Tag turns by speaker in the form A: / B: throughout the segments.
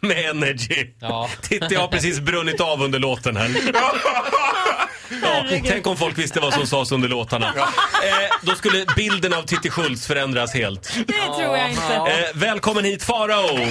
A: med Energy. Titta, jag har precis brunnit av under låten här. Ja, tänk om folk visste vad som sades under låtarna. Eh, då skulle bilden av Titti Schultz förändras helt.
B: Det tror jag inte.
A: Eh, välkommen hit Farao!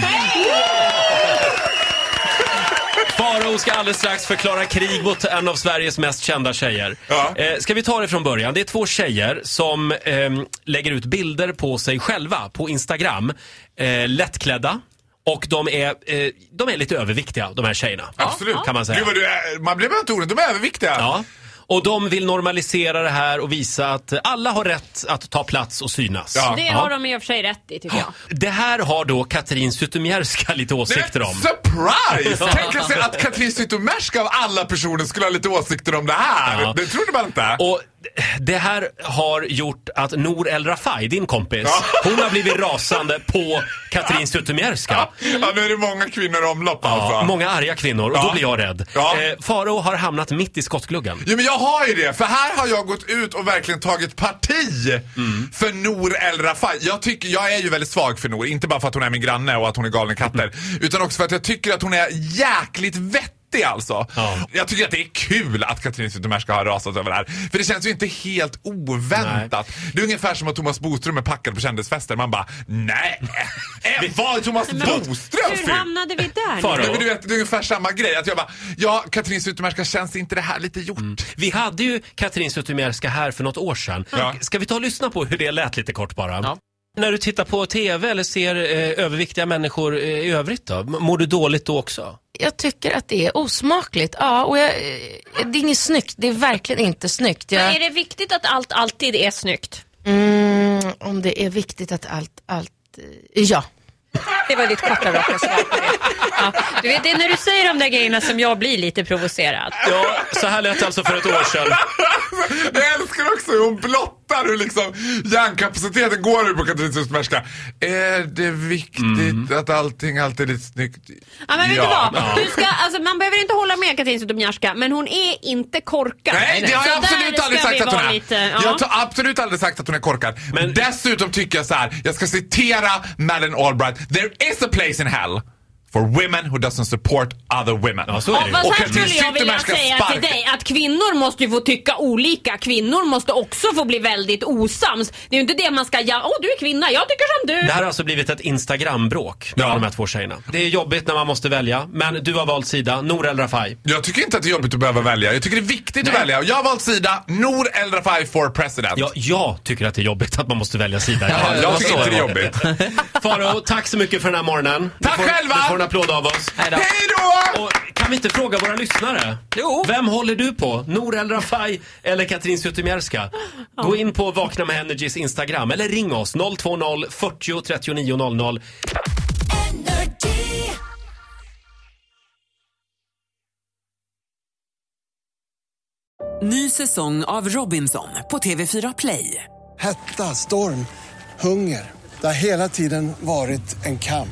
A: Farao ska alldeles strax förklara krig mot en av Sveriges mest kända tjejer.
C: Ja.
A: Eh, ska vi ta det från början? Det är två tjejer som ehm, lägger ut bilder på sig själva på Instagram. Eh, lättklädda. Och de är, eh, de är lite överviktiga, de här tjejerna.
C: Absolut.
A: Kan man säga.
C: Gud, vad du är, man blir bara inte orolig, de är överviktiga.
A: Ja. Och de vill normalisera det här och visa att alla har rätt att ta plats och synas.
C: Ja.
B: Det har de i och för sig rätt i tycker jag.
A: Det här har då Katrin Zytomierska lite åsikter om.
C: Surprise! Tänka sig att Katrin Zytomierska av alla personer skulle ha lite åsikter om det här.
A: Ja.
C: Det trodde man inte.
A: Och det här har gjort att Nor El Rafai, din kompis,
C: Ja.
A: hon har blivit rasande på Katrin Zytomierska.
C: ja. ja, nu är det många kvinnor i omlopp
A: Ja,
C: alltså.
A: många arga kvinnor och då
C: Ja.
A: blir jag rädd.
C: Ja.
A: Eh, Faro har hamnat mitt i skottgluggen.
C: Jo men jag har ju det, för här har jag gått ut och verkligen tagit parti för Nor El Rafai. Jag, tycker, jag är ju väldigt svag för Nor, inte bara för att hon är min granne och att hon är galen i katter, utan också för att jag tycker att hon är jäkligt vettig alltså.
A: Ja.
C: Jag tycker att det är kul att Katrin Zytomierska har rasat över det här. För det känns ju inte helt oväntat. Det är ungefär som att Thomas Bodström är packad på kändisfester. Man bara, nej! Äh, Vad är Thomas Bodström
B: Hur
C: ful?
B: hamnade vi där?
A: Faro.
B: nu?
C: Nej, men du vet, det är ungefär samma grej. Att jag bara, ja Katrin Zytomierska, känns inte det här lite gjort?
A: Vi hade ju Katrin Zytomierska här för något år sedan.
C: Ja.
A: Ska vi ta och lyssna på hur det lät lite kort bara? När du tittar på TV eller ser eh, överviktiga människor eh, i övrigt då, m- mår du dåligt då också?
D: Jag tycker att det är osmakligt. Ja, och jag, eh, det är inget snyggt. Det är verkligen inte snyggt.
B: Men är
D: Jag,
B: det viktigt att allt alltid är snyggt?
D: mm, om det är viktigt att allt, allt, eh, ja.
B: Det var ditt korta raka svar på det. Ja. Du vet, det är när du säger de där grejerna som jag blir lite provocerad.
A: Ja, så här lät det alltså för ett år sedan.
C: Jag älskar också hur hon blottar hur liksom hjärnkapaciteten går nu på Katrin Zytomierska. Är det viktigt
A: Mm.
C: att allting alltid är lite snyggt?
B: Ja, men vet
C: Ja.
B: du vad? Du ska, alltså, man behöver inte hålla med Katrin Zytomierska, men hon är inte korkad.
C: Nej, det har jag
B: Så där
C: absolut
B: ska
C: aldrig sagt
B: vi
C: att hon
B: vara
C: är.
B: Lite,
C: Jag
B: ja.
C: har absolut aldrig sagt att hon är korkad.
A: Men-
C: Dessutom tycker jag så här, jag ska citera Madeleine Albright. There is a place in hell for women who doesn't support other women.
A: Ja, så är det ju.
B: Fast
C: Och
B: här
C: Katrin
B: skulle jag vilja
C: Zytomierska
B: säga till
C: sparkar-
B: dig att kvinnor måste ju få tycka olika. Kvinnor måste också få bli väldigt osams. Det är ju inte det man ska, ja, åh du är kvinna, jag tycker som du.
A: Det här har alltså blivit ett Instagram-bråk mellan
C: Ja.
A: de här två tjejerna. Det är jobbigt när man måste välja, men du har valt sida, Nour El Rafai.
C: Jag tycker inte att det är jobbigt att behöva välja. Jag tycker det är viktigt att välja. Och Jag har valt sida. Nour El Rafai for president.
A: Ja, jag tycker att det är jobbigt att man måste välja sida.
C: Ja,
A: Det var
C: jag tycker
A: så
C: inte det är
A: var.
C: jobbigt.
A: Faro, tack så mycket för den här morgonen. Du
C: Tack
A: får,
C: själva!
A: Du får en applåd av oss.
C: Hej då!
A: Och kan vi inte fråga våra lyssnare?
E: Jo.
A: Vem håller du på? Nour El Rafai eller Katrin Zytomierska? Gå in på Vakna med Energys Instagram eller ring oss 020 40 39 00.
E: Ny säsong av Robinson på TV4 Play.
F: Hetta, storm, hunger. Det har hela tiden varit en kamp.